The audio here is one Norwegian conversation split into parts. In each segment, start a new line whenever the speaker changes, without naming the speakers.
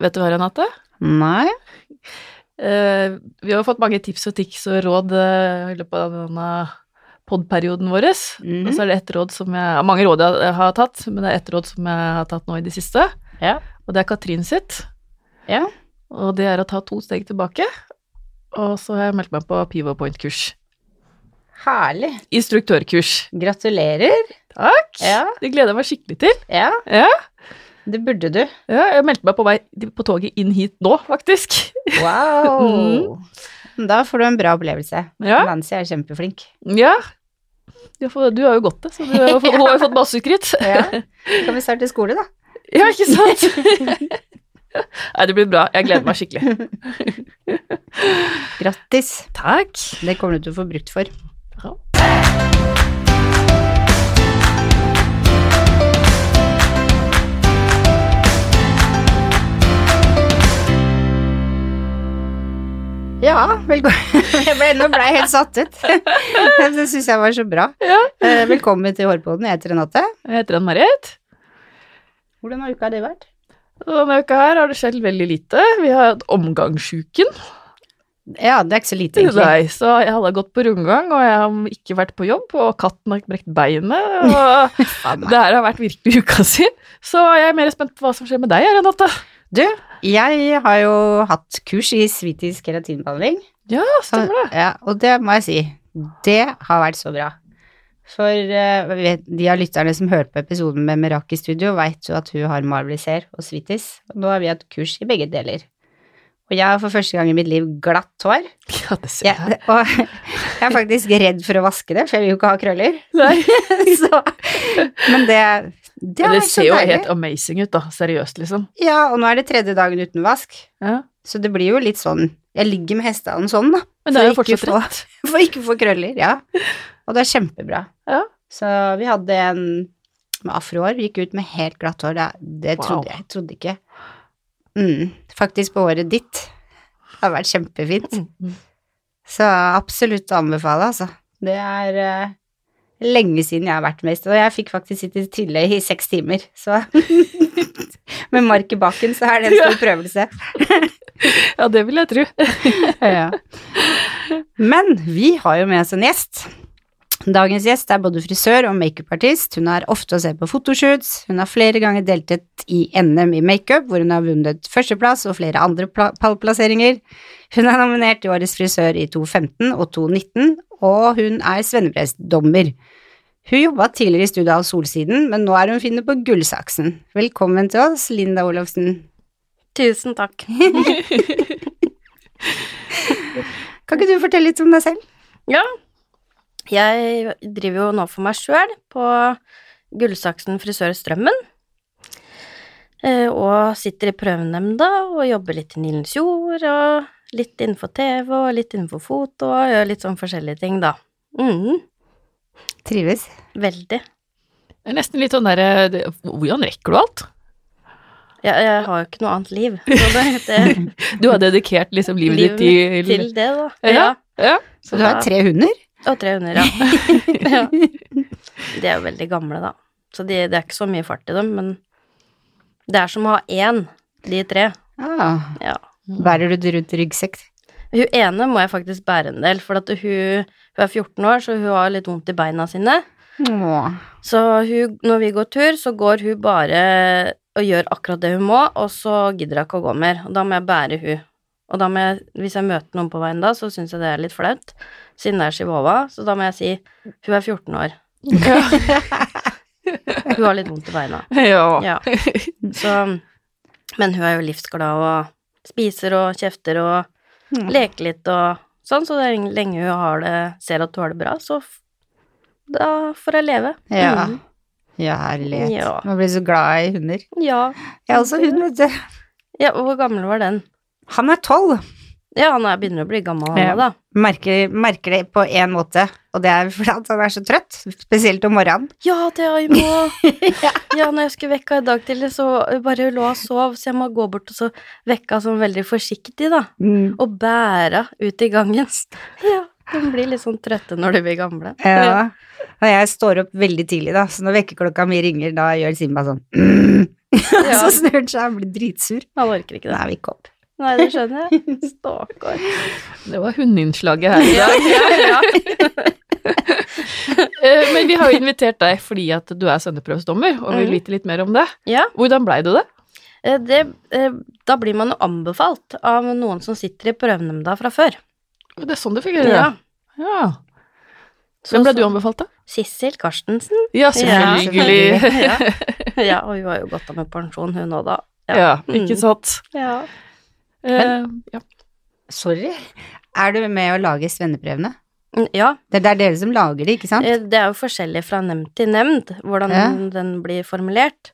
Vet du hva, Renate?
Nei.
Eh, vi har jo fått mange tips og tics og råd eh, i løpet av denne podperioden vår.
Mhm.
Og så er det ett råd som jeg Mange råd jeg har tatt, men det er ett råd som jeg har tatt nå i det siste.
Ja.
Og det er Katrin sitt.
Ja.
Og det er å ta to steg tilbake. Og så har jeg meldt meg på Pivopoint-kurs.
Herlig.
Instruktørkurs.
Gratulerer.
Takk!
Ja.
Det gleder jeg meg skikkelig til.
Ja.
Ja.
Det burde du.
Ja, jeg meldte meg på vei på toget inn hit nå, faktisk.
Wow. Da får du en bra opplevelse.
Ja.
Nancy er kjempeflink.
ja. Du har fått- du har jo gått det, så du har jo fått, hun har jo fått masse skryt.
Ja. Sånn. Kan vi starte skole, da?
Ja, ikke sant? Nei, det blir bra. Jeg gleder meg skikkelig.
Grattis.
Takk.
Det kommer du til å få brukt for.
Ja.
Ja, velkommen. Jeg ble, nå ble jeg helt satt ut. Det syns jeg var så bra.
Ja.
Eh, Velkommen til Hårpodden. Jeg heter Renate.
Jeg heter Ann Marit.
Hvordan har uka di vært?
Og Denne uka her har det skjedd veldig lite. Vi har hatt omgangssjuken.
Ja, det er ikke så lite, egentlig.
Nei, så jeg hadde gått på rundgang, og jeg har ikke vært på jobb, og katten har brekt beinet. Og
Faen meg.
det her har vært virkelig uka si. Så jeg er mer spent på hva som skjer med deg, Renate.
Jeg har jo hatt kurs i svitisk keratinbehandling.
Ja, stemmer det.
Ja, og det må jeg si, det har vært så bra. For eh, vi vet- de av lytterne som hørte på episoden med Meraki Studio, veit jo at hun har malbriser og svitis. Og nå har vi hatt kurs i begge deler. Og jeg har for første gang i mitt liv glatt hår.
Ja, det ser
Jeg,
jeg.
og jeg er faktisk redd for å vaske det, for jeg vil jo ikke ha krøller.
Nei.
Så, men det, det
Men det
har vært så
ser jo
deilig.
helt amazing ut, da. Seriøst, liksom.
Ja, og nå er det tredje dagen uten vask,
Ja.
så det blir jo litt sånn Jeg ligger med hestehalen sånn, da.
Men det er jo
For ikke
fortsatt
få-
rett.
For ikke å få krøller, ja. Og det er kjempebra.
Ja.
Så vi hadde en med afrohår, gikk ut med helt glatt hår. Det, det
Wow.
trodde jeg, jeg trodde ikke. Mm, faktisk på håret ditt. Det har vært kjempefint. Så absolutt å anbefale, altså. Det er eh, lenge siden jeg har vært med i sted, og jeg fikk faktisk sitte stille i seks timer, så Med mark i baken, så er det en stor prøvelse.
Ja, det vil jeg tro.
Ja. Men vi har jo med oss en gjest. Dagens gjest er både frisør og makeupartist. Hun er ofte å se på fotoshoots. Hun har flere ganger deltatt i NM i makeup, hvor hun har vunnet førsteplass og flere andre pla- pallplasseringer. Hun er nominert til Årets frisør i 2015 og 2019, og hun er svenneprestdommer. Hun jobba tidligere i studio av Solsiden, men nå er hun finne på Gullsaksen. Velkommen til oss, Linda Olofsen.
Tusen takk.
Kan ikke du fortelle litt om deg selv?
Jeg driver jo nå for meg sjøl på Gullsaksen frisør Strømmen. Eh, Og sitter i prøvenemnda og jobber litt i Nilens Jord og litt innenfor TV og litt innenfor foto og gjør litt sånn forskjellige ting, da. Mm,
Trives?
veldig.
Det er nesten litt sånn derre det- Hvordan rekker du alt?
Jeg, jeg har jo ikke noe annet liv. Så det, det,
Du har dedikert liksom livet,
Livet
ditt til,
til det, da.
Ja. Ja.
Så du har
da-
tre hunder?
Og tre hunder, ja. ja. De er jo veldig gamle, da. Så de, det er ikke så mye fart i dem, men det er som å ha én, de tre.
Ah,
Ja.
bærer du det rundt i ryggsekk?
Hun ene må jeg faktisk bære en del, for at hun, hun er 14 år, så hun har litt vondt i beina sine.
Åh.
Så hun, når vi går tur, så går hun bare og gjør akkurat det hun må, og så gidder hun ikke å gå mer. Og da må jeg bære hun. Og da må jeg, hvis jeg møter noen på veien da, så syns jeg det er litt flaut, siden det er chihuahua. Så da må jeg si hun er 14 år. hun har litt vondt i beina.
Ja.
Ja. Så, men hun er jo livsglad og spiser og kjefter og
Mm.
leker litt og sånn, så det er lenge hun har det, ser at hun har det bra, så f- da får jeg leve.
Ja.
Mm.
Ja, herlighet.
Ja.
Man blir så glad i hunder.
Ja.
Jeg har også hund, vet du.
ja. Hvor gammel var den?
Han er tolv.
Ja, han er, begynner å bli gammel, han
Ja.
òg, da.
Merker, merker det på én måte, og det er fordi at han er så trøtt. Spesielt om morgenen.
Ja, det er jeg må. ja, når jeg skulle vekke henne i dag tidlig, så eh, bare lå hun og sov, så jeg må gå bort og så vekke henne sånn veldig forsiktig, da. Og bære henne ut i gangen. Ja, de blir litt sånn trøtte når de blir gamle.
Ja. Og jeg står opp veldig tidlig, da, så når vekkerklokka mi ringer, da gjør Simba sånn mm, Og så snur han seg og blir dritsur.
Han orker ikke
Da
det.
er vi ikke opp.
Nei, det skjønner jeg. Stakkar.
Det var hundeinnslaget her i dag.
Ja, ja.
Eh, Men vi har jo invitert deg fordi at du er sendeprøvesdommer, og vil
Mhm.
vite litt mer om det.
Ja.
Hvordan blei du det?
Eh, Det, eh, da blir man jo anbefalt av noen som sitter i prøvenemnda fra før.
Det er sånn du fikk gjøre det? Ja.
Så-
Hvem ble
så-
du anbefalt, da?
Sissel Karstensen.
Ja,
selvfølgelig.
selvfølgelig.
Ja. ja, og hun har jo gått av med pensjon, hun òg, da. Ja. Mm.
Ja, ikke sant.
Ja.
Eh, ja.
Sorry. Er du med å lage svenneprøvene?
ja.
Det det er dere som lager det, ikke sant?
eh, Det er jo forskjellig fra nemnd til nemnd hvordan
Ja.
den blir formulert.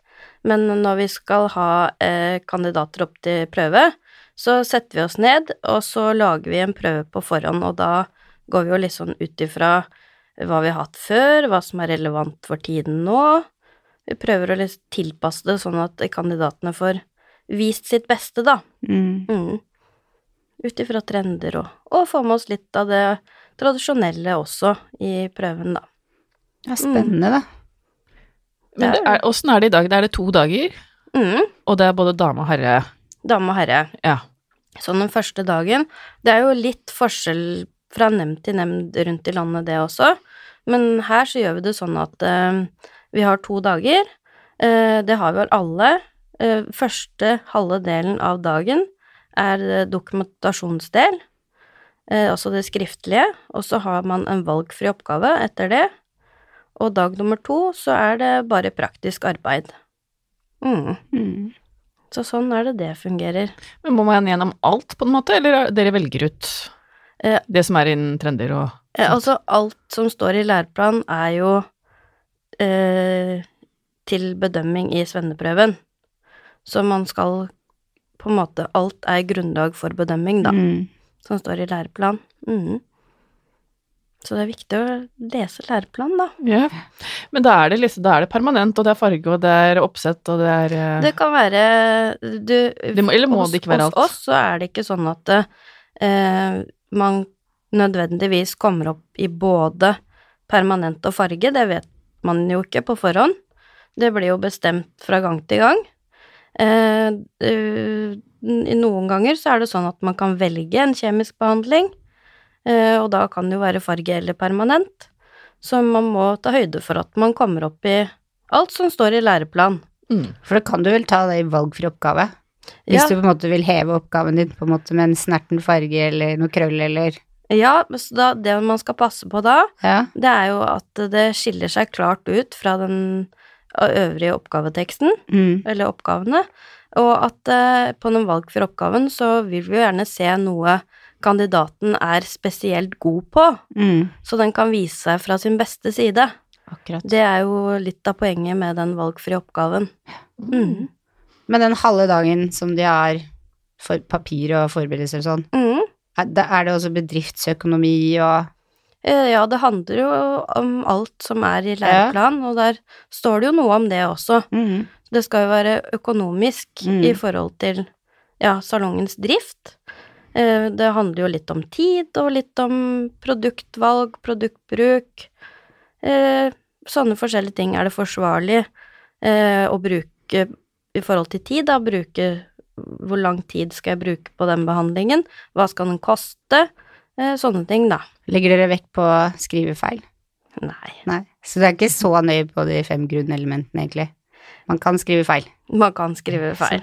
Men når vi skal ha eh, kandidater opp til prøve, så setter vi oss ned, og så lager vi en prøve på forhånd, og da går vi jo litt sånn ut ifra hva vi har hatt før, hva som er relevant for tiden nå. Vi prøver å liksom tilpasse det sånn at kandidatene får vist sitt beste, da.
Mm.
Mm. Ut ifra trender og, og få med oss litt av det tradisjonelle også i prøven, da.
Ja, spennende, da.
Men det er, åssen er det i dag? Det er det to dager,
Mm.
og det er både dame og herre.
Dame og herre.
Ja.
Sånn den første dagen. Det er jo litt forskjell fra nemnd til nemnd rundt i landet, det også. Men her så gjør vi det sånn at eh, vi har to dager. Eh, det har vi vel alle. Eh, første halve delen av dagen er eh, dokumentasjonsdel, eh, altså det skriftlige. Og så har man en valgfri oppgave etter det. Og dag nummer to så er det bare praktisk arbeid. Mm.
Mm.
Så sånn er det det fungerer.
Men må man gjennom alt, på en måte, eller er- dere velger ut
Eh,
det som er innen trender og
Eh, altså, alt som står i læreplanen er jo eh, til bedømming i svenneprøven. Så man skal på en måte Alt er grunnlag for bedømming, da,
Mm.
som står i læreplanen. Mhm. Så det er viktig å lese læreplanen, da.
Ja. Men da er, det liksom, da er det permanent, og det er farge, og det er oppsett, og det er eh,
Det kan være du,
Det må- eller må
hos,
det ikke være alt?
Hos oss så er det ikke sånn at eh, man nødvendigvis kommer opp i både permanent og farge. Det vet man jo ikke på forhånd. Det blir jo bestemt fra gang til gang. Eh, eh, i noen ganger så er det sånn at man kan velge en kjemisk behandling, eh, og da kan det jo være farge eller permanent. Så man må ta høyde for at man kommer opp i alt som står i læreplan.
mm.
For da kan du vel ta det i valgfri oppgave? Hvis
Ja.
du på en måte vil heve oppgaven din på en måte med en snerten farge eller noe krøll eller
Ja, men så da, det man skal passe på da,
Ja.
det er jo at det skiller seg klart ut fra den ø- øvrige oppgaveteksten,
Mm.
eller oppgavene, og at eh, på den valgfrie oppgaven så vil vi jo gjerne se noe kandidaten er spesielt god på,
Mm.
så den kan vise seg fra sin beste side.
Akkurat.
Det er jo litt av poenget med den valgfrie oppgaven. Mm.
Men den halve dagen som de har for papir og forberedelser og sånn,
Mm.
er da er det også bedriftsøkonomi og
Eh, Ja, det handler jo om alt som er i læreplanen, og der står det jo noe om det også.
mm.
Det skal jo være økonomisk
Mm.
i forhold til ja, salongens drift. Eh, Det handler jo litt om tid og litt om produktvalg, produktbruk. Eh, Sånne forskjellige ting. Er det forsvarlig eh, å bruke i forhold til tid, da? Bruke Hvor lang tid skal jeg bruke på den behandlingen? Hva skal den koste? Eh, Sånne ting, da.
Legger dere vekt på skrivefeil?
Nei.
Nei. Så det er ikke så nøye på de fem grunnelementene, egentlig. Man kan skrive feil.
Man kan skrive feil.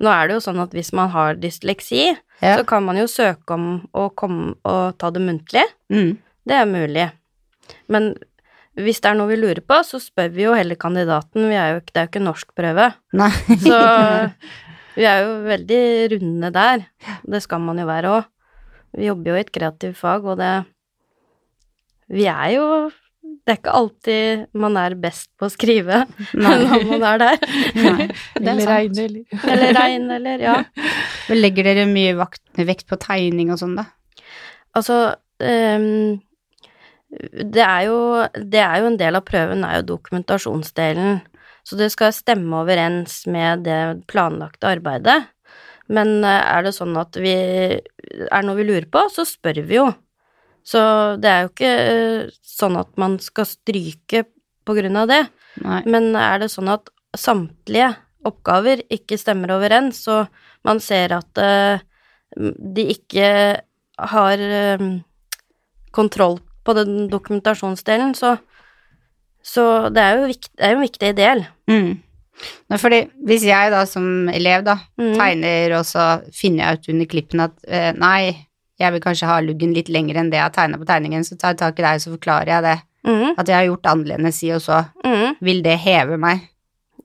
Nå er det jo sånn at hvis man har dysleksi,
Ja.
så kan man jo søke om å komme og ta det muntlig.
Mm.
Det er mulig. Men hvis det er noe vi lurer på, så spør vi jo heller kandidaten. Vi er jo ikke, det er jo ikke norskprøve.
Nei.
Så vi er jo veldig runde der. Det skal man jo være òg. Vi jobber jo i et kreativt fag, og det Vi er jo Det er ikke alltid man er best på å skrive når man er der.
Nei. Det er
Eller
sant.
regne, eller
Eller regne, eller Ja.
Men Legger dere mye vakt, vekt på tegning og sånn, da?
Altså ehm, det, er jo, det er jo en del av prøven, er jo dokumentasjonsdelen. Så det skal stemme overens med det planlagte arbeidet. Men eh, er det sånn at vi Er det noe vi lurer på, så spør vi jo. Så det er jo ikke eh, sånn at man skal stryke på grunn av det.
Nei.
Men er det sånn at samtlige oppgaver ikke stemmer overens, så man ser at eh, de ikke har eh, kontroll på den dokumentasjonsdelen, så, så det er jo vikt, det er jo en viktig del.
Mm. Nå, fordi hvis jeg da som elev da,
Mm.
tegner, og så finner jeg ut under klippen at eh, nei, jeg vil kanskje ha luggen litt lenger enn det jeg har tegna på tegningen, så tar jeg tak i deg, så forklarer jeg det.
Mhm,
At jeg har gjort annerledes si og så.
mhm,
Vil det heve meg?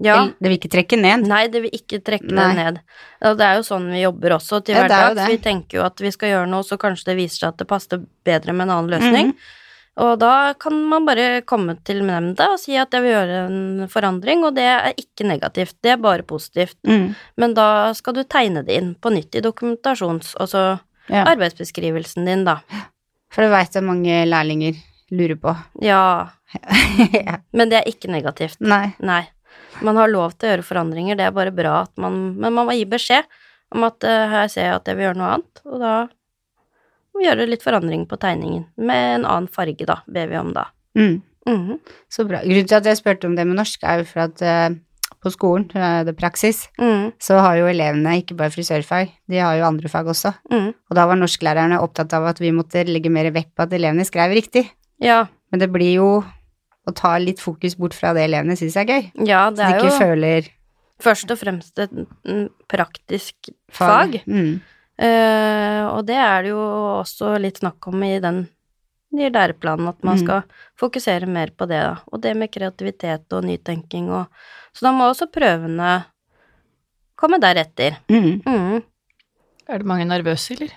ja.
Vil- Det vil ikke trekke ned.
Nei, det vil ikke trekke
Nei.
det ned. Og det er jo sånn vi jobber også til
Ja, det er jo
hverdags.
det.
vi tenker jo at vi skal gjøre noe, så kanskje det viser seg at det passer bedre med en annen
Mm.
løsning. Og da kan man bare komme til nemnda og si at jeg vil gjøre en forandring, og det er ikke negativt, det er bare positivt.
Mm.
Men da skal du tegne det inn på nytt i dokumentasjons... Altså
Ja.
arbeidsbeskrivelsen din, da.
For det veit jeg mange lærlinger lurer på.
Ja.
Ja.
Men det er ikke negativt.
Nei.
Nei. Man har lov til å gjøre forandringer, det er bare bra at man Men man må gi beskjed om at eh, her ser jeg at jeg vil gjøre noe annet, og da må vi gjøre litt forandring på tegningen. Med en annen farge, da, ber vi om da.
Mm.
Mhm.
Så bra. Grunnen til at jeg spurte om det med norsk, er jo for at eh, på skolen, eh, det er praksis,
Mhm.
så har jo elevene ikke bare frisørfag, de har jo andre fag også.
Mhm.
Og da var norsklærerne opptatt av at vi måtte legge mer vekt på at elevene skrev riktig.
Ja,
Men det blir jo å ta litt fokus bort fra det elevene syns er gøy.
ja, det
Så de
er jo
ikke føler
først og fremst et mm, praktisk
fag.
fag.
Mm.
Eh, og det er det jo også litt snakk om i den nye læreplanen, at man
Mm.
skal fokusere mer på det, da. Og det med kreativitet og nytenking og Så da må også prøvene komme deretter.
Mm.
Mm.
Er det mange nervøse, eller?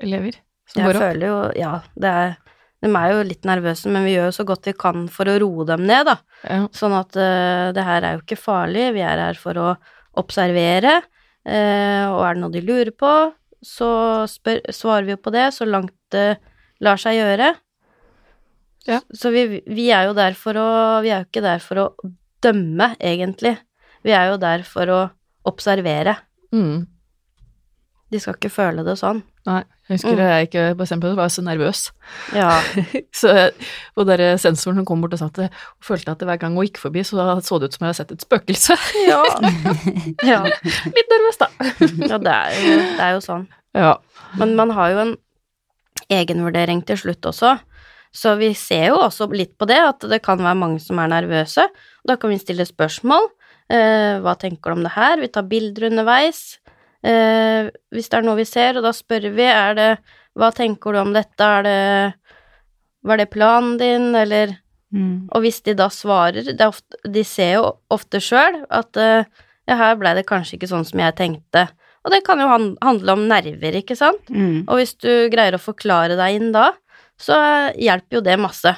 Elever som
Jeg
går opp?
føler jo Ja, det er De er jo litt nervøse, men vi gjør jo så godt vi kan for å roe dem ned, da.
Ja.
Sånn at eh, det her er jo ikke farlig, vi er her for å observere, eh, og er det noe de lurer på, så spør, svarer vi jo på det så langt det lar seg gjøre.
Ja.
S- Så vi, vi er jo der for å Vi er jo ikke der for å dømme, egentlig. Vi er jo der for å observere.
Mm.
De skal ikke føle det sånn.
Nei, jeg husker
Mm.
da jeg ikke bestemte meg, var jeg så nervøs.
Ja.
Så, og der eh, sensoren som kom bort og sa at det, og følte at det hver gang hun gikk forbi, så så det ut som jeg hadde sett et spøkelse.
Ja. ja.
Litt nervøs, da.
det, er jo, det er jo sånn.
Ja.
Men man har jo en egenvurdering til slutt også. Så vi ser jo også litt på det, at det kan være mange som er nervøse. Da kan vi stille spørsmål. Eh, hva tenker du om det her? Vi tar bilder underveis. Eh, hvis det er noe vi ser, og da spør vi, er det Hva tenker du om dette? Er det Var det planen din, eller
Mm.
og hvis de da svarer det er ofte, De ser jo ofte sjøl at eh, ja, her blei det kanskje ikke sånn som jeg tenkte. Og det kan jo han- handle om nerver, ikke sant?
Mm.
Og hvis du greier å forklare deg inn da, så eh, hjelper jo det masse.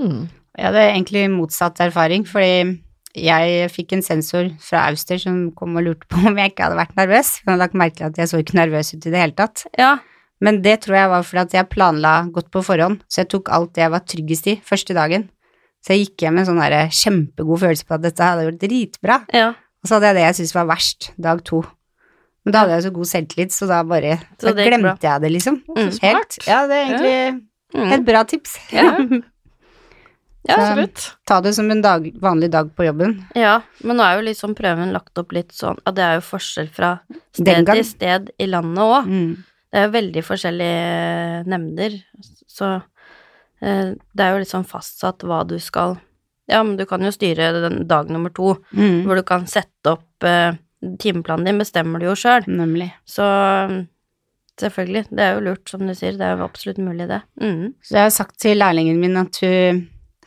Mm.
Jeg hadde egentlig motsatt erfaring, fordi jeg fikk en sensor fra Auster som kom og lurte på om jeg ikke hadde vært nervøs. Han hadde lagt merke til at jeg så ikke nervøs ut i det hele tatt.
Ja.
Men det tror jeg var fordi at jeg planla godt på forhånd, så jeg tok alt det jeg var tryggest i første dagen. Så jeg gikk hjem med en sånn der kjempegod følelse på at dette hadde jeg gjort dritbra.
ja.
Og så hadde jeg det jeg syntes var verst, dag to. Men da hadde jeg så god selvtillit, så da bare
Så
da
det gikk bra.
glemte jeg det, liksom.
Mm.
Helt. Ja, det er egentlig
Mm.
et bra tips.
Ja.
Ja.
Absolutt.
Ta det som en dag, vanlig dag på jobben.
ja. Men nå er jo liksom prøven lagt opp litt sånn at det er jo forskjell fra
Den
sted
gang.
til sted i landet òg.
Mm.
Det er jo veldig forskjellige nemnder, så eh, det er jo liksom fastsatt hva du skal Ja, men du kan jo styre den dag nummer to,
Mm.
hvor du kan sette opp eh, timeplanen din, bestemmer du jo sjøl.
Nemlig.
Så mm, selvfølgelig, det er jo lurt, som du sier. Det er jo absolutt mulig, det. Mm.
Så jeg har sagt til lærlingen min at hun,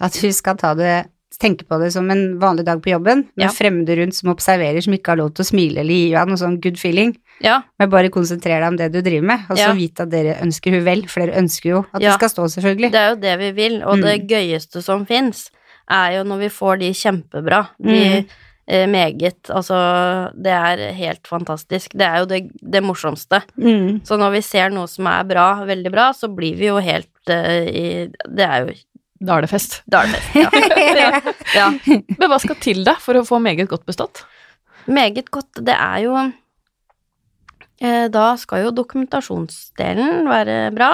at hun skal ta det tenke på det som en vanlig dag på jobben, med
Ja.
fremmede rundt som observerer, som ikke har lov til å smile eller gi deg noe sånn good feeling,
Ja,
men bare konsentrer deg om det du driver med, og så
Ja.
vite at dere ønsker hun vel, for dere ønsker jo at
Ja.
det skal stå, selvfølgelig.
det er jo det vi vil, og det
Mm.
gøyeste som fins, er jo når vi får de kjempebra. De
Mm.
eh, meget Altså, det er helt fantastisk. Det er jo det, det morsomste.
Mm.
Så når vi ser noe som er bra, veldig bra, så blir vi jo helt eh, i Det er jo
Da er det fest.
Da er det best. Ja. ja.
Men hva skal til da for å få meget godt bestått?
Meget godt. Det er jo eh, Da skal jo dokumentasjonsdelen være bra,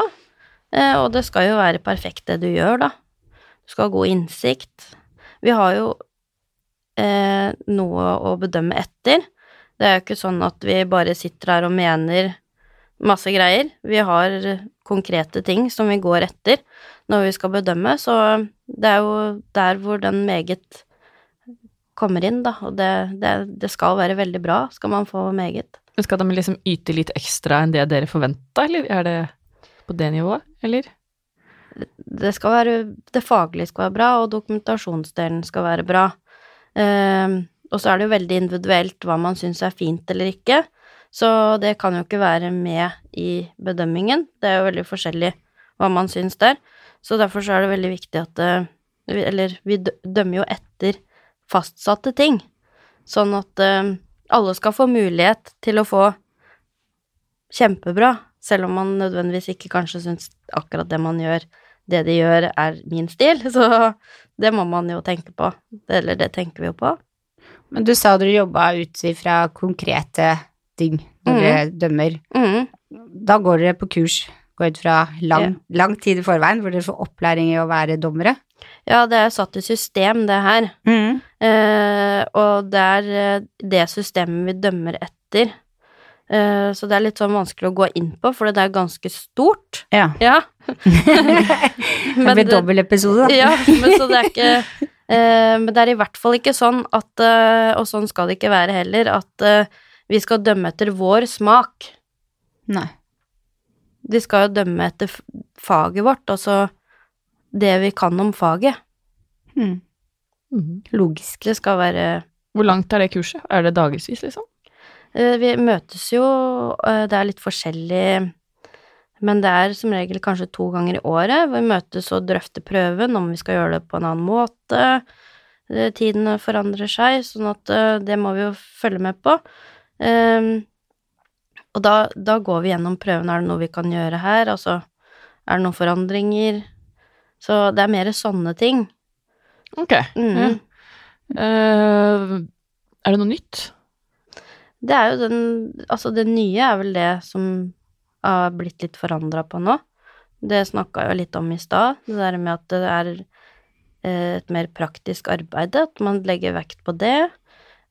eh, og det skal jo være perfekt det du gjør, da. Du skal ha god innsikt. Vi har jo eh, noe å bedømme etter. Det er jo ikke sånn at vi bare sitter her og mener masse greier. Vi har konkrete ting som vi går etter når vi skal bedømme, så det er jo der hvor den meget kommer inn, da. Og det, det, det skal være veldig bra, skal man få meget.
Men Skal de liksom yte litt ekstra enn det dere forventa, eller er det på det nivået, eller?
det skal være Det faglige skal være bra, og dokumentasjonsdelen skal være bra. Ehm, og så er det jo veldig individuelt hva man syns er fint eller ikke. Så det kan jo ikke være med i bedømmingen. Det er jo veldig forskjellig hva man syns der. Så derfor så er det veldig viktig at eh, vi, Eller vi dø- dømmer jo etter fastsatte ting. Sånn at eh, alle skal få mulighet til å få kjempebra, selv om man nødvendigvis ikke kanskje syns akkurat det man gjør, det de gjør, er min stil. Så det må man jo tenke på. Eller det tenker vi jo på.
Men du sa dere jobba ut ifra konkrete ting når dere dømmer.
Mm.
Da går dere på kurs, går ut fra lang, lang tid i forveien, hvor dere får opplæring i å være dommere.
Ja, det er satt i system, det her. Eh, og det er eh, det systemet vi dømmer etter. Eh, så det er litt sånn vanskelig å gå inn på, for det er ganske stort.
Ja.
Ja.
Det blir dobbel episode, da.
Ja, men så det er ikke eh, Men det er i hvert fall ikke sånn at eh, Og sånn skal det ikke være heller, at eh, vi skal dømme etter vår smak.
Nei.
De skal jo dømme etter f- faget vårt, altså det vi kan om faget.
Mm.
Mhm.
Logisk.
Det skal være
Hvor langt er det kurset? Er det dagevis, liksom?
eh, Vi møtes jo eh, Det er litt forskjellig men det er som regel kanskje to ganger i året hvor vi møtes og drøfter prøven, om vi skal gjøre det på en annen måte. Eh, Tiden forandrer seg, sånn at eh, det må vi jo følge med på. Ehm, Og da, da går vi gjennom prøven. Er det noe vi kan gjøre her? Altså, er det noen forandringer? Så det er mer sånne ting.
Ok.
Mm.
Ja. Eh, er det noe nytt?
Det er jo den Altså, det nye er vel det som har blitt litt forandra på nå. Det snakka jeg jo litt om i stad, det der med at det er eh, et mer praktisk arbeid, at man legger vekt på det.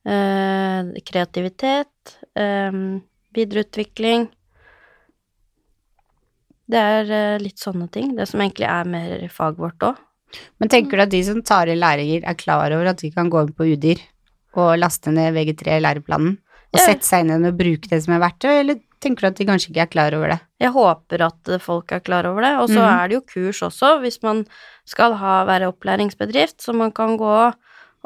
Eh, Kreativitet, eh, videreutvikling. Det er eh, litt sånne ting. Det som egentlig er mer i faget vårt òg.
Men tenker du at de som tar i læringer, er klar over at de kan gå inn på Udyr og laste ned VG3 i læreplanen? Og
Ja.
sette seg inn i den og bruke det som er verktøy, eller tenker du at de kanskje ikke er klar over det?
Jeg håper at eh, folk er klar over det. Og så
Mhm.
er det jo kurs også, hvis man skal ha, være opplæringsbedrift, som man kan gå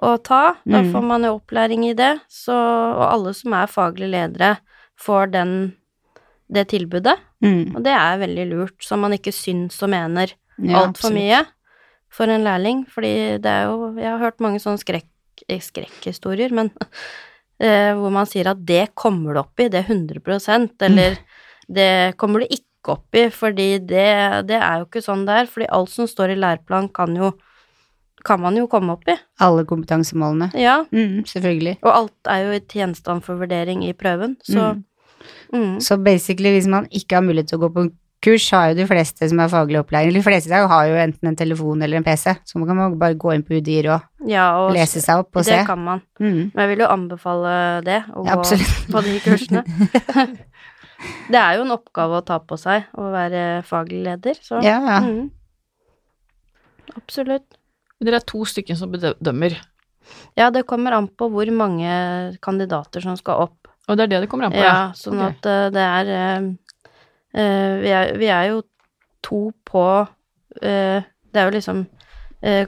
og ta. Da
Mhm.
får man jo opplæring i det. Så, og alle som er faglige ledere, får den, det tilbudet.
Mhm.
Og det er veldig lurt, så man ikke syns og mener
Ja,
altfor
absolutt.
mye for en lærling. Fordi det er jo Jeg har hørt mange sånne skrekk, eh, skrekkhistorier, men eh, hvor man sier at det kommer du opp i, det er 100
Mm.
eller det kommer du ikke opp i, fordi det, det er jo ikke sånn det er. Fordi alt som står i læreplanen, kan jo kan man jo komme opp i.
Alle kompetansemålene.
Ja.
Mm, selvfølgelig.
Og alt er jo i gjenstand for vurdering i prøven, så
Mm.
mm.
Så basically, hvis man ikke har mulighet til å gå på kurs, har jo de fleste som er faglig opplæring, de fleste i dag har jo enten en telefon eller en PC, så man kan bare gå inn på Udyr og
mm, Ja, og
lese seg opp og se.
det kan man.
Mm.
Men jeg vil jo anbefale det, å
Ja,
gå
absolutt.
på de kursene. det er jo en oppgave å ta på seg å være faglig leder, så
Ja, ja.
mm. Absolutt.
Dere er to stykker som bedømmer,
Ja, det kommer an på hvor mange kandidater som skal opp.
og det er det det kommer an på?
Ja, sånn
Ok.
at eh, det er eh, eh, vi, er vi er jo to på eh, Det er jo liksom eh,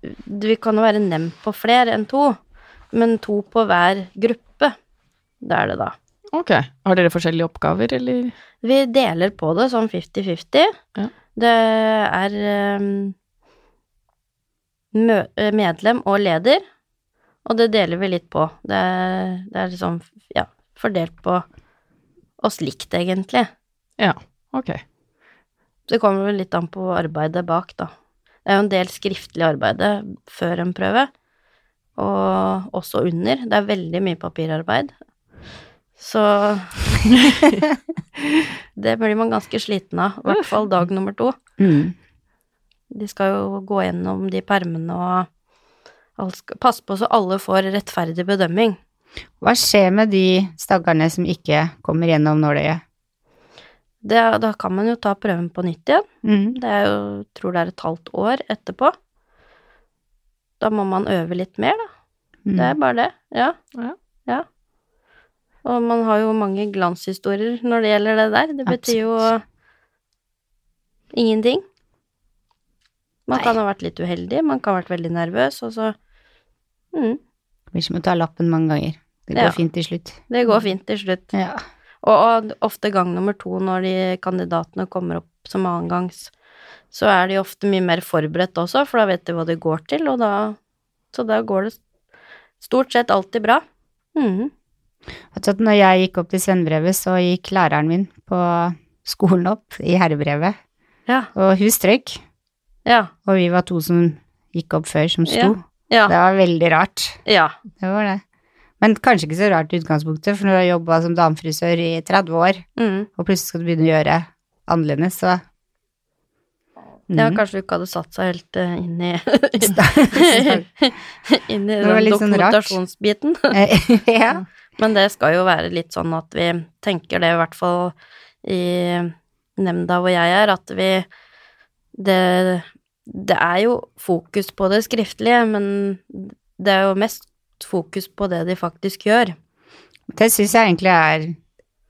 Vi kan jo være nevnt på flere enn to, men to på hver gruppe. Det er det, da.
Ok. Har dere forskjellige oppgaver, eller?
Vi deler på det sånn 50-50.
Ja.
Det er ehm, mø- eh, medlem og leder, og det deler vi litt på. Det er, det er liksom ja, fordelt på oss likt, egentlig.
Ok.
Det kommer vel litt an på arbeidet bak, da. Det er jo en del skriftlig arbeide før en prøve, og også under. Det er veldig mye papirarbeid. Så Det blir man ganske sliten av, i hvert fall dag nummer to.
Mm.
De skal jo gå gjennom de permene og Alt skal- Pass på så alle får rettferdig bedømming.
Hva skjer med de stakkarene som ikke kommer gjennom nåløyet?
Det, er- da kan man jo ta prøven på nytt igjen.
Mm.
Det er jo, tror det er et halvt år etterpå. Da må man øve litt mer, da.
Mm.
Det er bare det. Ja.
Ja.
Ja. Og man har jo mange glanshistorier når det gjelder det der. Det betyr
Absolutt.
jo ingenting. Man
Nei.
kan ha vært litt uheldig, man kan ha vært veldig nervøs, og så mm,
Det blir som å ta lappen mange ganger. Det går
Ja.
fint til slutt.
Det går fint til slutt.
Ja.
Og, og ofte gang nummer to når de kandidatene kommer opp som annengangs, så er de ofte mye mer forberedt også, for da vet de hva de går til, og da Så da går det stort sett alltid bra. Mm.
Vet du at når jeg gikk opp til svennebrevet, så gikk læreren min på skolen opp i herrebrevet,
Ja.
og hun strøyk.
Ja.
Og vi var to som gikk opp før, som sto.
Ja.
Det var veldig rart.
Ja.
Det var det. Men kanskje ikke så rart i utgangspunktet, for når du har jobba som damefrisør i 30 år,
Mm.
og plutselig skal du begynne å gjøre annerledes, så mm.
Ja, kanskje du ikke hadde satt seg helt eh, inn i, inn i
Det var
den
litt sånn rart.
dokumentasjonsbiten.
ja.
Men det skal jo være litt sånn at vi tenker det, i hvert fall i nemnda hvor jeg er, at vi Det, det er jo fokus på det skriftlige, men det er jo mest fokus på det de faktisk gjør.
Det syns jeg egentlig er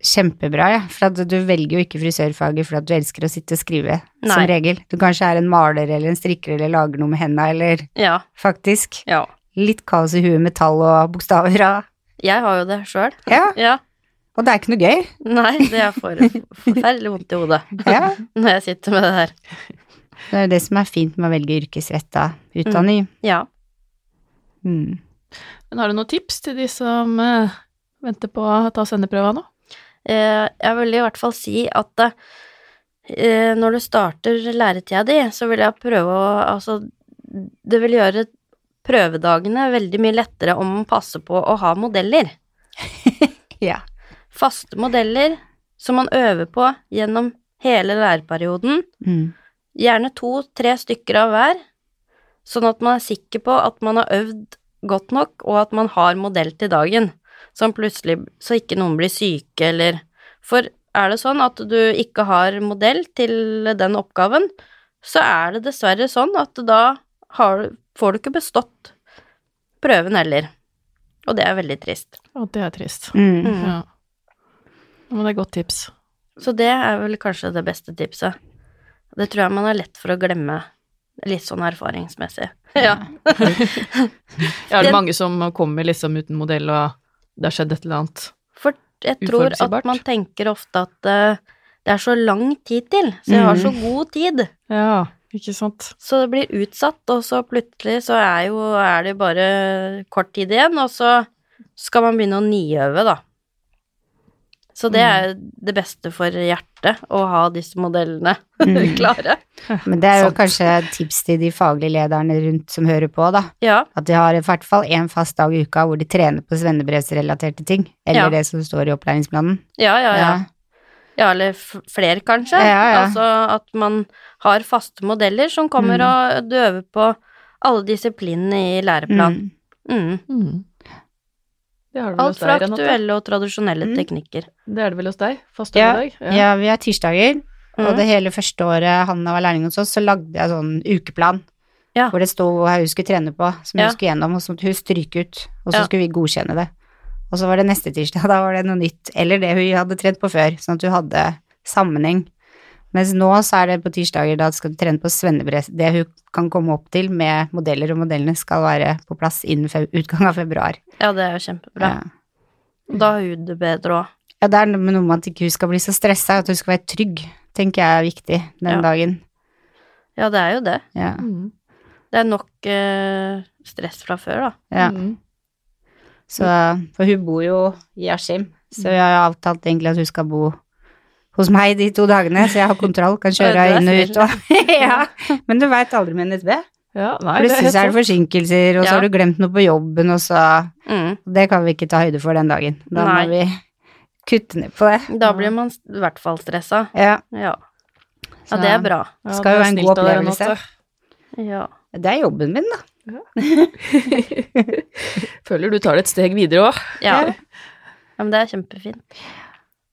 kjempebra, ja. for at du velger jo ikke frisørfaget fordi at du elsker å sitte og skrive, som
Nei.
regel. Du kanskje er en maler eller en strikker eller lager noe med henda, eller
Ja.
faktisk
ja.
litt kaos i huet med tall og bokstaver. og-
Jeg har jo det sjøl.
Ja,
Ja.
og det er ikke noe gøy.
Nei, det er for, forferdelig vondt i hodet
Ja.
når jeg sitter med det her.
Det er jo det som er fint med å velge yrkesretta utdanning.
Ja.
Mm.
Men har du noen tips til de som eh, venter på å ta svenneprøva nå?
Eh, Jeg vil i hvert fall si at eh, når du starter læretida di, så vil jeg prøve å Altså, det vil gjøre prøvedagene veldig mye lettere om man passer på å ha modeller.
Ja.
Faste modeller som man øver på gjennom hele læreperioden.
Mm.
Gjerne to-tre stykker av hver, sånn at man er sikker på at man har øvd godt nok, og at man har modell til dagen, sånn plutselig så ikke noen blir syke eller For er det sånn at du ikke har modell til den oppgaven, så er det dessverre sånn at da har, du- får du ikke bestått prøven heller. Og det er veldig trist.
Å, det er trist.
Mm.
Mm.
Ja. Men det er godt tips.
Så det er vel kanskje det beste tipset. Det tror jeg man har lett for å glemme, litt sånn erfaringsmessig. Ja.
Ja, er det
Den-
mange som kommer liksom uten modell, og det har skjedd et eller annet?
For jeg tror
Uforutsigbart.
at man tenker ofte at eh, det er så lang tid til, så jeg har
Mhm.
så god tid.
Ja, ikke sant?
Så det blir utsatt, og så plutselig så er, jo, er det bare kort tid igjen, og så skal man begynne å niøve, da. Så det er
Mhm.
jo det beste for hjertet, å ha disse modellene
Mm.
klare.
Men det er jo
Sant.
kanskje et tips til de faglige lederne rundt som hører på, da.
Ja,
At de har i hvert fall én fast dag i uka hvor de trener på svennebrevsrelaterte ting. Eller
Ja.
det som står i opplæringsplanen.
ja, ja. ja.
Ja.
Ja, eller f- flere, kanskje.
Ja, ja.
Altså at man har faste modeller som kommer
Mm.
og døver på alle disiplinene i læreplanen.
Mm.
Mm.
Mm. Det har du vel hos
Alt fra
deg, Renate?
aktuelle og tradisjonelle
Mm.
teknikker.
Det er det vel hos deg? Fast
Ja,
over i dag?
ja, vi har tirsdager, og
Mm.
det hele første året Hanna var lærling hos oss, så lagde jeg sånn ukeplan.
Ja.
Hvor det sto hva hun skulle trene på, som
Ja.
hun skulle gjennom, og så måtte hun stryke ut. Og så
Ja.
skulle vi godkjenne det. Og så var det neste tirsdag, da var det noe nytt. Eller det hun hadde trent på før, sånn at hun hadde sammenheng. Mens nå så er det på tirsdager da skal du trene på svennebrett. Det hun kan komme opp til med modeller, og modellene skal være på plass innen fe- utgangen av februar.
Ja, det er jo kjempebra.
Ja.
Da har hun det bedre òg.
Ja, det er noe med noe med at ikke hun skal bli så stressa, at hun skal være trygg, tenker jeg er viktig den
Ja.
dagen.
Ja, det er jo det.
Ja.
Mm.
Det er nok eh, stress fra før, da.
Ja.
Mm.
Så, for hun bor jo i Askim, så jeg har avtalt egentlig at hun skal bo hos meg de to dagene, så jeg har kontroll, kan kjøre
Ja,
henne
det er
inn og ut. Og, ja. Men du veit aldri med NSB.
Ja, nei, det er helt
Plutselig så er det
sant.
forsinkelser, og
Ja.
så har du glemt noe på jobben, og så
Mm.
Det kan vi ikke ta høyde for den dagen. Da
Nei.
må vi kutte ned på det.
Da blir man s- i hvert fall stressa.
Ja.
Ja. ja,
Så-
det er bra.
Ja,
skal
det
jo
er
være en
snilt
god
av deg,
opplevelse.
Renate.
Ja.
Det er jobben min, da.
Føler du tar det et steg videre òg.
Ja. ja, men det er kjempefint.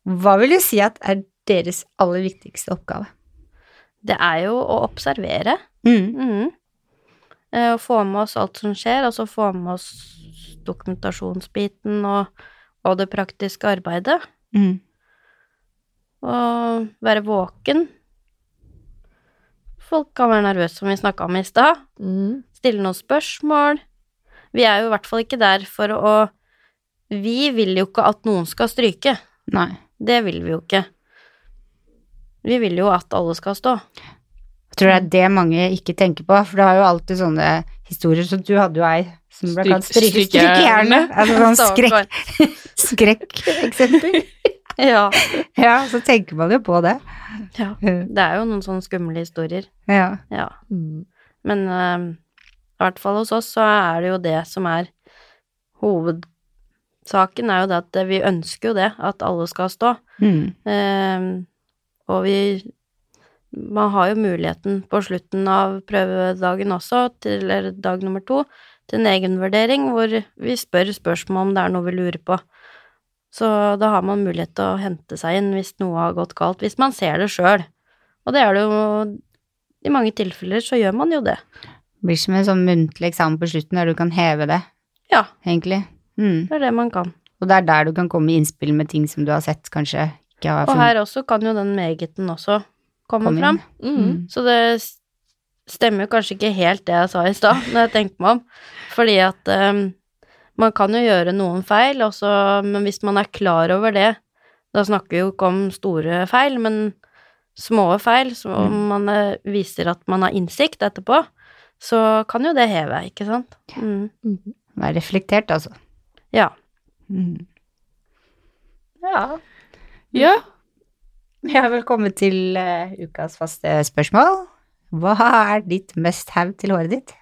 Hva vil du si at er deres aller viktigste oppgave?
Det er jo å observere.
Mm.
Mhm. Eh, Og få med oss alt som skjer, og så få med oss dokumentasjonsbiten og, og det praktiske arbeidet.
Mm.
Og være våken. Folk kan være nervøse, som vi snakka om i stad.
Mm.
Stille noen spørsmål. Vi er jo i hvert fall ikke der for å Vi vil jo ikke at noen skal stryke.
Nei.
Det vil vi jo ikke. Vi vil jo at alle skal stå.
Jeg tror det er det mange ikke tenker på, for du har jo alltid sånne historier. Så du hadde jo ei som ble
Stryk-
kalt stryk- strykejerne.
strykejerne.
Altså sånn skrekk,
Stakkar.
skrekkeksempel.
Ja.
Ja, så tenker man jo på det.
ja. Det er jo noen sånne skumle historier.
Ja.
Ja.
Mm.
Men eh, i hvert fall hos oss så er det jo det som er hovedsaken, er jo det at vi ønsker jo det, at alle skal stå.
Mm.
Eh, og vi Man har jo muligheten på slutten av prøvedagen også, til, eller dag nummer to, til en egenvurdering hvor vi spør spørsmål om det er noe vi lurer på. Så da har man mulighet til å hente seg inn hvis noe har gått galt, hvis man ser det sjøl. Og det er det jo I mange tilfeller så gjør man jo det.
Blir som en sånn muntlig eksamen på slutten der du kan heve det,
Ja,
egentlig. Mm.
det er det man kan.
Og det er der du kan komme med innspill med ting som du har sett, kanskje ikke har
Og
funnet
her også kan jo den megeten også komme
komme
fram.
inn. Mm.
Så det s- stemmer jo kanskje ikke helt det jeg sa i stad, når jeg tenker meg om. Fordi at eh, man kan jo gjøre noen feil, og så- men hvis man er klar over det Da snakker vi jo ikke om store feil, men små feil. Så om man eh, viser at man har innsikt etterpå, så kan jo det heve, ikke sant? Mm.
Vær reflektert, altså.
Ja.
Mm.
ja.
Ja.
Vi har vel kommet til eh, ukas faste spørsmål. Hva er ditt must have til håret ditt?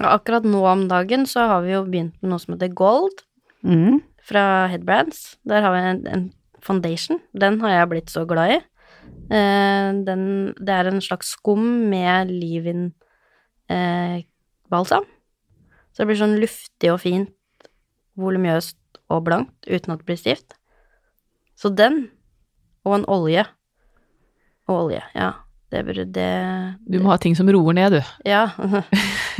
Akkurat nå om dagen så har vi jo begynt med noe som heter gold.
Mm.
fra Headbrands. Der har vi en, en foundation. Den har jeg blitt så glad i. Eh, den, det er en slags skum med leave-in-balsam. så det blir sånn luftig og fint, volumøst og blankt, uten at det blir stivt. Så den, og en olje Og olje, ja. Det burde det,
Du må ha ting som roer ned, du.
ja.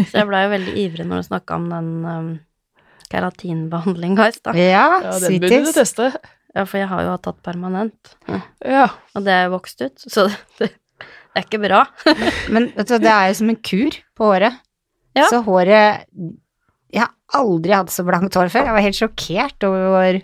Så jeg blei jo veldig ivrig når du snakka om den um, keratinbehandlinga i stad.
Ja,
den burde du
sweeties.
teste.
Ja, for jeg har jo hatt tatt permanent,
Ja.
og det er jo vokst ut, så det, det er ikke bra.
Men vet du, hva, det er jo som en kur på håret.
Ja.
Så håret Jeg har aldri hatt så blankt hår før. Jeg var helt sjokkert over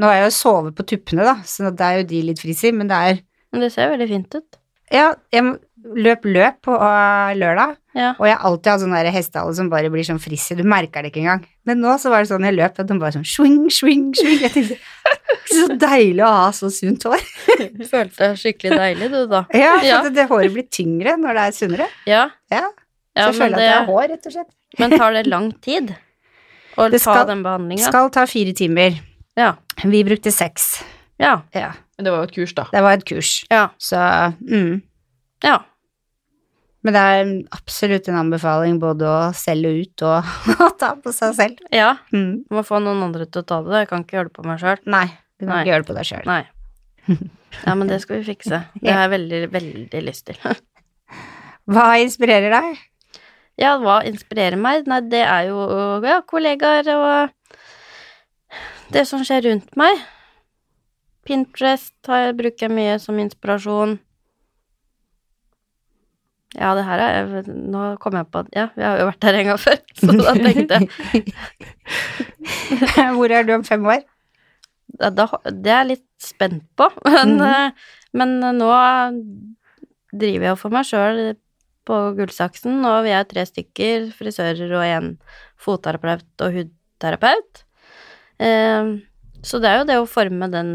Nå har jeg jo sovet på tuppene, da, så det er jo de litt frise, men det er
Men det ser veldig fint ut.
Ja, jeg må- løp løp på øh, lørdag,
Ja.
og jeg har alltid hatt sånne der hestehale som bare blir sånn frisse. Du merker det ikke engang. Men nå så var det sånn jeg løp, at den bare sånn swing, swing, swing. Jeg tenkte Så deilig å ha så sunt hår.
Du følte deg skikkelig deilig, du, da.
Ja, for
Ja.
Det, det håret blir tyngre når det er sunnere.
Ja.
Ja.
Ja,
så jeg føler
men,
at det er
det,
hår, rett og slett.
men tar det lang tid å
Det skal-
ta den behandlinga?
Skal ta fire timer.
Ja.
Vi brukte seks.
Ja.
Ja,
Men det var jo et kurs, da.
det var et kurs.
Ja.
Så mm.
Ja.
Men det er absolutt en anbefaling både å selge ut og å ta på seg selv.
ja.
Mm.
Må få noen andre til å ta det. Jeg kan ikke gjøre det på meg sjøl.
Nei, du kan
Nei.
ikke gjøre det på deg sjøl.
Nei. Ja, men det skal vi fikse. Det har jeg veldig, veldig lyst til.
Hva inspirerer deg?
Ja, hva inspirerer meg? Nei, det er jo ja, kollegaer og det som skjer rundt meg. Pinterest har jeg, bruker jeg mye som inspirasjon. Ja, det her er Nå kom jeg på at Ja, vi har jo vært der en gang før, så da tenkte jeg
Hvor er du om fem år?
ja, da, Det er jeg litt spent på, men, eh, men nå driver jeg jo for meg sjøl på Gullsaksen, og vi er tre stykker, frisører og en fotterapeut og hudterapeut. Eh, Så det er jo det å forme den,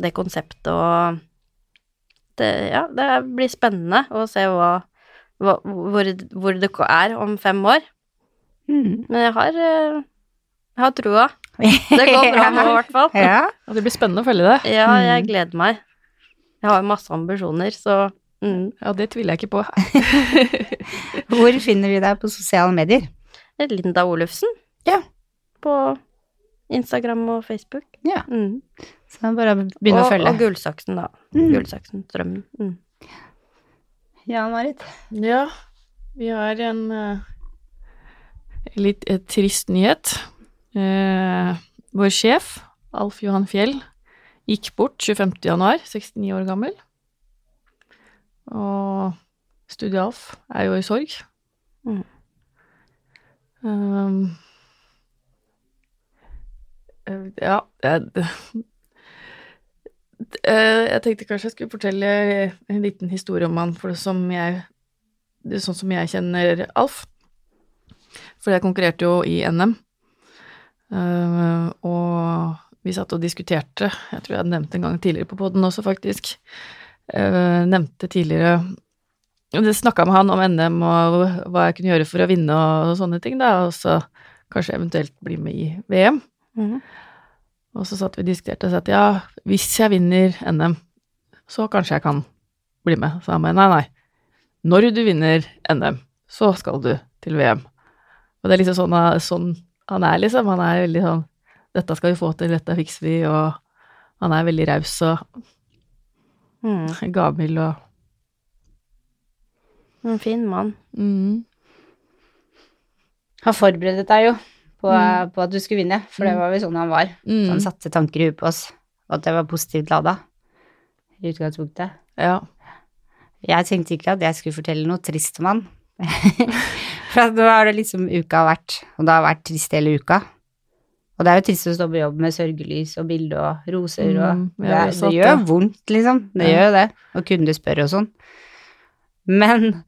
det konseptet og det, Ja, det blir spennende å se hva, hva, hvor, hvor det er om fem år.
Mm.
Men jeg har, eh, jeg har trua. Det går bra nå, i hvert fall.
Ja.
Ja, det blir spennende å følge det.
Ja, jeg
Mm.
gleder meg. Jeg har jo masse ambisjoner, så mm.
Ja, det tviler jeg ikke på.
Hvor finner vi deg på sosiale medier?
Linda Olufsen.
Ja.
På Instagram og Facebook.
Ja.
Mm.
Så det er bare å begynne
og,
å følge.
Og Gullsaksen, da.
Mm.
Gullsaksen Strømmen. Mm.
Ja, Marit.
Ja, vi har en eh, litt eh, trist nyhet. Eh, vår sjef, Alf Johan Fjell, gikk bort 25. januar, 69 år gammel. Og Studie Alf er jo i sorg.
Mm.
Um, eh, ja jeg, Eh, Jeg tenkte kanskje jeg skulle fortelle en liten historie om han, for det som jeg, det er sånn som jeg kjenner Alf. For jeg konkurrerte jo i NM, Eh, og vi satt og diskuterte, jeg tror jeg nevnte en gang tidligere på poden også faktisk, Eh, nevnte tidligere det snakka med han om NM og hva jeg kunne gjøre for å vinne og sånne ting, da, og så kanskje eventuelt bli med i VM.
Mm.
Og så satt vi og diskuterte og sa at ja, hvis jeg vinner NM, så kanskje jeg kan bli med. Så han bare nei, nei. Når du vinner NM, så skal du til VM. Og det er liksom sånn, han- sånn han er, liksom. Han er veldig sånn Dette skal vi få til, dette fikser vi, og han er veldig raus og
Mm.
gavmild og
En fin mann.
mm.
Han forberedt deg jo på,
Mm.
på at du skulle vinne, for det var vel sånn han var. Så
Mm.
han satte tanker i huet på oss, og at jeg var positivt lada i utgangspunktet.
Ja.
Jeg tenkte ikke at jeg skulle fortelle noe trist om han. For at nå har det liksom uka vært, og det har vært trist hele uka. Og det er jo trist å stå på jobb med sørgelys og bilde og roser og
Mm, jeg
det,
har også hatt
det gjør
det.
vondt, liksom. Det
Ja.
gjør jo det. Og kunder spør og sånn. Men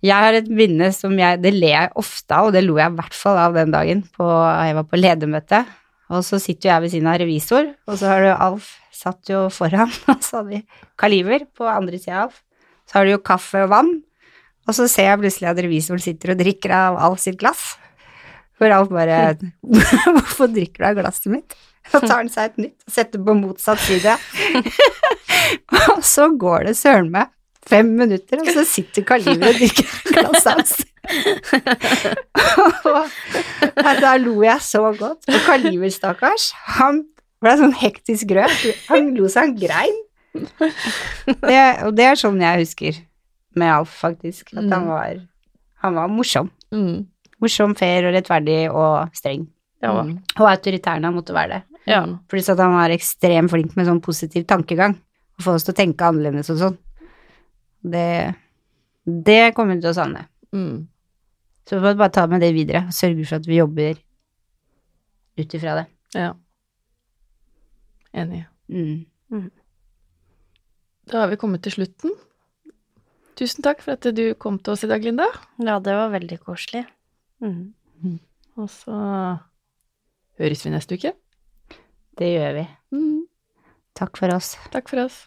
jeg har et minne som jeg Det ler jeg ofte av, og det lo jeg i hvert fall av den dagen på, jeg var på ledermøte. Og så sitter jo jeg ved siden av revisor, og så har du Alf satt jo foran, og så hadde vi Kaliver på andre sida av Alf. Så har du jo kaffe og vann, og så ser jeg plutselig at revisoren sitter og drikker av Alf sitt glass. Hvor Alf bare 'Hvorfor drikker du av glasset mitt?' Så tar han seg et nytt og setter på motsatt side. og så går det søren meg fem minutter, og så sitter Kaliver og drikker av glasset hans. Og Nei, da lo jeg så godt. Og Kaliver, stakkars, han ble sånn hektisk rød. Han lo så han grein. Det, og det er sånn jeg husker med Alf, faktisk. At han
Mm.
var, han var morsom.
Mm.
Morsom, fair og rettferdig og streng.
Ja.
Mm.
Og autoritær når han måtte være det.
ja.
Pluss at han var ekstremt flink med sånn positiv tankegang. Å få oss til å tenke annerledes og sånn. Det, det kommer vi til å savne.
Mm.
Så vi får bare ta med det videre og sørge for at vi jobber ut ifra det.
ja. Enig.
Mm.
Da har vi kommet til slutten. Tusen takk for at du kom til oss i dag, Linda.
Ja, det var veldig koselig. Mm.
Og så høres vi neste uke.
Det gjør vi. Takk for oss.
Takk for oss.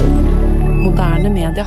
Moderne media.